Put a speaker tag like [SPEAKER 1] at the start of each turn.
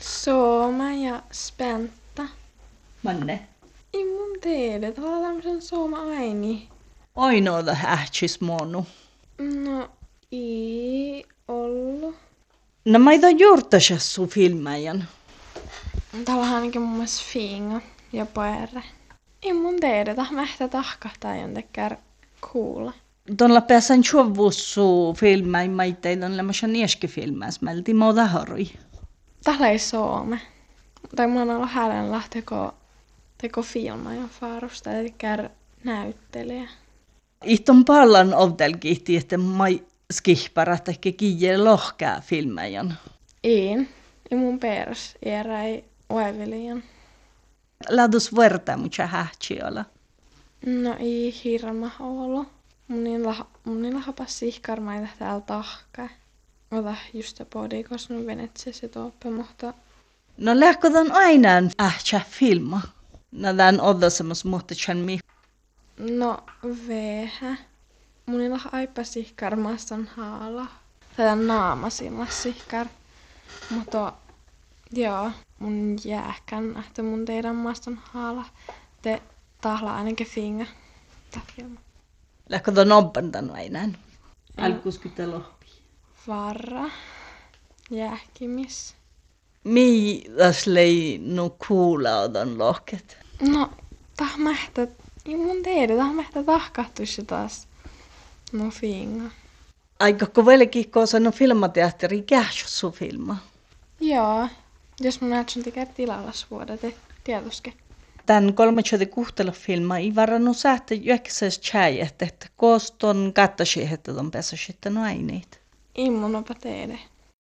[SPEAKER 1] Insomma, ja spentta.
[SPEAKER 2] Manne.
[SPEAKER 1] In mun teille, tavallaan sen suoma aini.
[SPEAKER 2] Ainoa ähtsis no, monu.
[SPEAKER 1] No, ei ollut.
[SPEAKER 2] No mä ei juurtasia su filmäjän.
[SPEAKER 1] Täällä on ainakin mun mielestä finga ja poere. Ei mun tiedetä, mä ehkä tahkahtaa jontekään kuulla.
[SPEAKER 2] Tuolla pääsen suovussu filmäin, mä ei on mä sen nieski filmäs, mä elti muuta harui.
[SPEAKER 1] Täällä ei suome. Tai mä oon ollut hänen lähteko teko filma ja faarusta, eli näyttelijä.
[SPEAKER 2] Ihton pallan ovtelkihti, että mä skihpara teki kiie lohkää filmäjän.
[SPEAKER 1] Iin. Ja mun pers eräi oevilijan.
[SPEAKER 2] Ladus verta mucha hähtsiolla.
[SPEAKER 1] No ei hirma ollut. niin Munin laha, munin lahapas sihkarmaita täällä tahkaa. Ota just se podi, koska nyt venetsiä toppe, mutta
[SPEAKER 2] No lähkötän aina ähtsä filma. No tän odasemmas muhta sen mi.
[SPEAKER 1] no vehä. Munin lah aipa sihkar massan haala. Tätä naamasilla sihkar. Mutta joo, mun jääkän nähtä mun teidän massan haala. Te tahla ainakin finga. Tää filma.
[SPEAKER 2] Lähkötän oppan tän aina. Alkuskytä lohpi.
[SPEAKER 1] Varra. Jääkimis.
[SPEAKER 2] Mi täs lei nu kuulla otan lohket.
[SPEAKER 1] No, tää mähtä, ei mun tiedä, tää mähtä tahkahtuisi taas. No finga.
[SPEAKER 2] Aika kovellekin koosa no filmateatteri kähssu filma.
[SPEAKER 1] Joo, jos mun näet sun tikää tilalla suoda, te tietoske.
[SPEAKER 2] Tän kolmatsuuden kuhtella filma ei varannut sähtä yhdeksäs tjäjät, että kooston kattasi, että ton pesä sitten no aineet.
[SPEAKER 1] Ei mun opa teille.